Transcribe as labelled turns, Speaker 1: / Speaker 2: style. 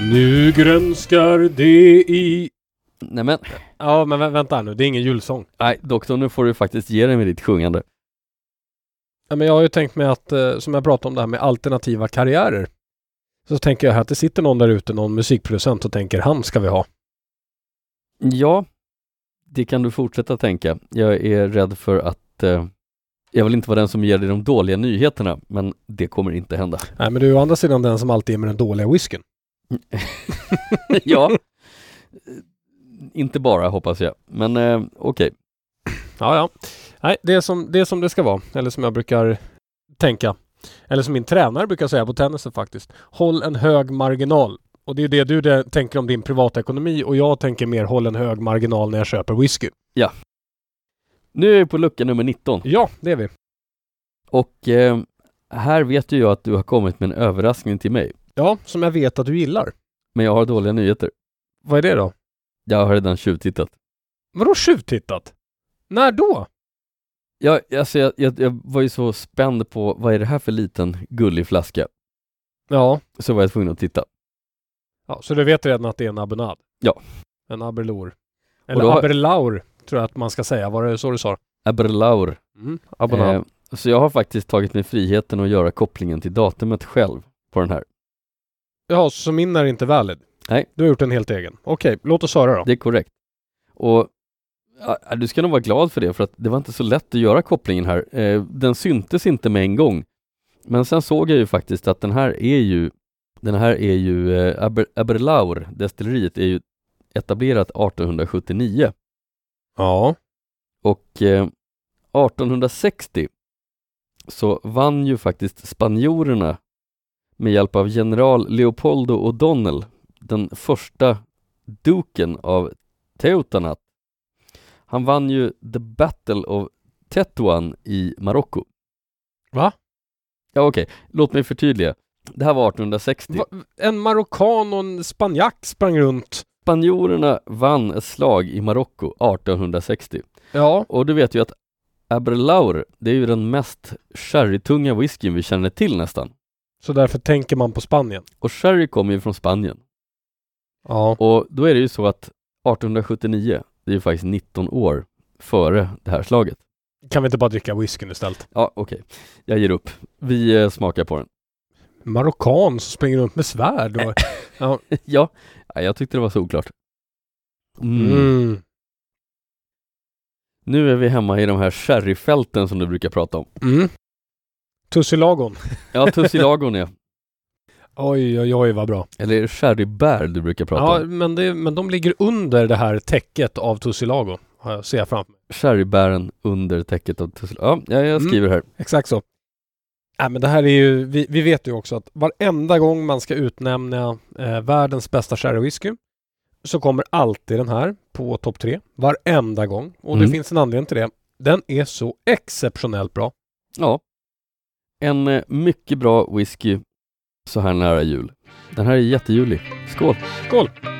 Speaker 1: Nu grönskar det i...
Speaker 2: Nej men,
Speaker 1: Ja, men vä- vänta här nu. Det är ingen julsång.
Speaker 2: nej doktorn nu får du faktiskt ge dig med ditt sjungande.
Speaker 1: Ja, men jag har ju tänkt mig att, eh, som jag pratade om det här med alternativa karriärer. Så tänker jag här att det sitter någon där ute, någon musikproducent och tänker han ska vi ha.
Speaker 2: Ja, det kan du fortsätta tänka. Jag är rädd för att eh, jag vill inte vara den som ger dig de dåliga nyheterna, men det kommer inte hända.
Speaker 1: Nej, men du är å andra sidan den som alltid är med den dåliga whiskyn.
Speaker 2: ja, Eh, inte bara hoppas jag, men eh, okej.
Speaker 1: Ja, ja. Nej, det är, som, det är som det ska vara. Eller som jag brukar tänka. Eller som min tränare brukar säga på tennisen faktiskt. Håll en hög marginal. Och det är det du där tänker om din privatekonomi och jag tänker mer håll en hög marginal när jag köper whisky.
Speaker 2: Nu är vi på lucka nummer 19
Speaker 1: Ja, det är vi.
Speaker 2: och eh, här vet ju jag att du har kommit med en överraskning till mig,
Speaker 1: Ja, som jag vet att du gillar.
Speaker 2: men jag har dåliga nyheter.
Speaker 1: Vad är det då?
Speaker 2: Jag har redan tjuvtittat.
Speaker 1: Vadå tjuvtittat? När då?
Speaker 2: Jag, alltså jag, jag, jag var ju så spänd på, vad är det här för liten gullig flaska?
Speaker 1: Ja.
Speaker 2: Så var jag tvungen att titta.
Speaker 1: ja, så du vet redan att det är en abonad?
Speaker 2: Ja.
Speaker 1: En abelor.
Speaker 2: då
Speaker 1: Eller
Speaker 2: har-
Speaker 1: aberlaur, tror jag att man ska säga. Var det så du sa?
Speaker 2: Aberlaur.
Speaker 1: Mm.
Speaker 2: Eh, så jag har faktiskt tagit mig friheten att göra kopplingen till datumet själv på den här.
Speaker 1: Jaha, så min är inte valid?
Speaker 2: Nej.
Speaker 1: Du har gjort en helt egen? Okej, låt oss höra då.
Speaker 2: Det är korrekt. Och ja, du ska nog vara glad för det, för att det var inte så lätt att göra kopplingen här. Eh, den syntes inte med en gång. Men sen såg jag ju faktiskt att den här är ju, den här är ju, eh, Aber, Aberlaur, destilleriet, är ju etablerat 1879.
Speaker 1: Ja.
Speaker 2: Och eh, 1860 så vann ju faktiskt spanjorerna med hjälp av general Leopoldo O'Donnell den första duken av Teutanat. Han vann ju The Battle of Tetuan i Marocko.
Speaker 1: Va?
Speaker 2: Ja okej, låt mig förtydliga. Det här var 1860.
Speaker 1: Va, en marockan och en spanjack sprang runt.
Speaker 2: Spanjorerna vann ett slag i Marocko 1860.
Speaker 1: Ja.
Speaker 2: Och du vet ju att Aberlaur, det är ju den mest sherrytunga whiskyn vi känner till nästan.
Speaker 1: Så därför tänker man på Spanien.
Speaker 2: Och sherry kommer ju från Spanien.
Speaker 1: Ja.
Speaker 2: Och då är det ju så att 1879, det är ju faktiskt 19 år före det här slaget.
Speaker 1: Kan vi inte bara dricka whiskyn istället?
Speaker 2: Ja, okej. Jag ger upp. Vi eh, smakar på den.
Speaker 1: Marockan som springer runt med svärd och...
Speaker 2: ja, nej, jag tyckte det var solklart. Mm.
Speaker 1: Mm.
Speaker 2: Nu är vi hemma i de här sherryfälten som du brukar prata om.
Speaker 1: Mm. Tussilagon.
Speaker 2: Ja, tussilagon ja.
Speaker 1: Oj, oj, oj vad bra.
Speaker 2: Eller är det sherrybär du brukar prata
Speaker 1: Ja,
Speaker 2: om?
Speaker 1: men, det, men de ligger under det här täcket av Tussilago. har jag- Ser jag framför mig.
Speaker 2: Sherrybären under täcket av tussilagon. Ja, jag- jag skriver här.
Speaker 1: Exakt så. Nej, men det här är ju, vi, vi vet ju också att varenda gång man ska utnämna eh, världens bästa sherrywhisky så kommer alltid den här på topp tre. Varenda gång. Och det
Speaker 2: Mm.
Speaker 1: finns en anledning till det. Den är så exceptionellt bra.
Speaker 2: Ja. En eh, mycket bra whisky så här nära jul. Den här är jättejulig. Skål!
Speaker 1: Skål!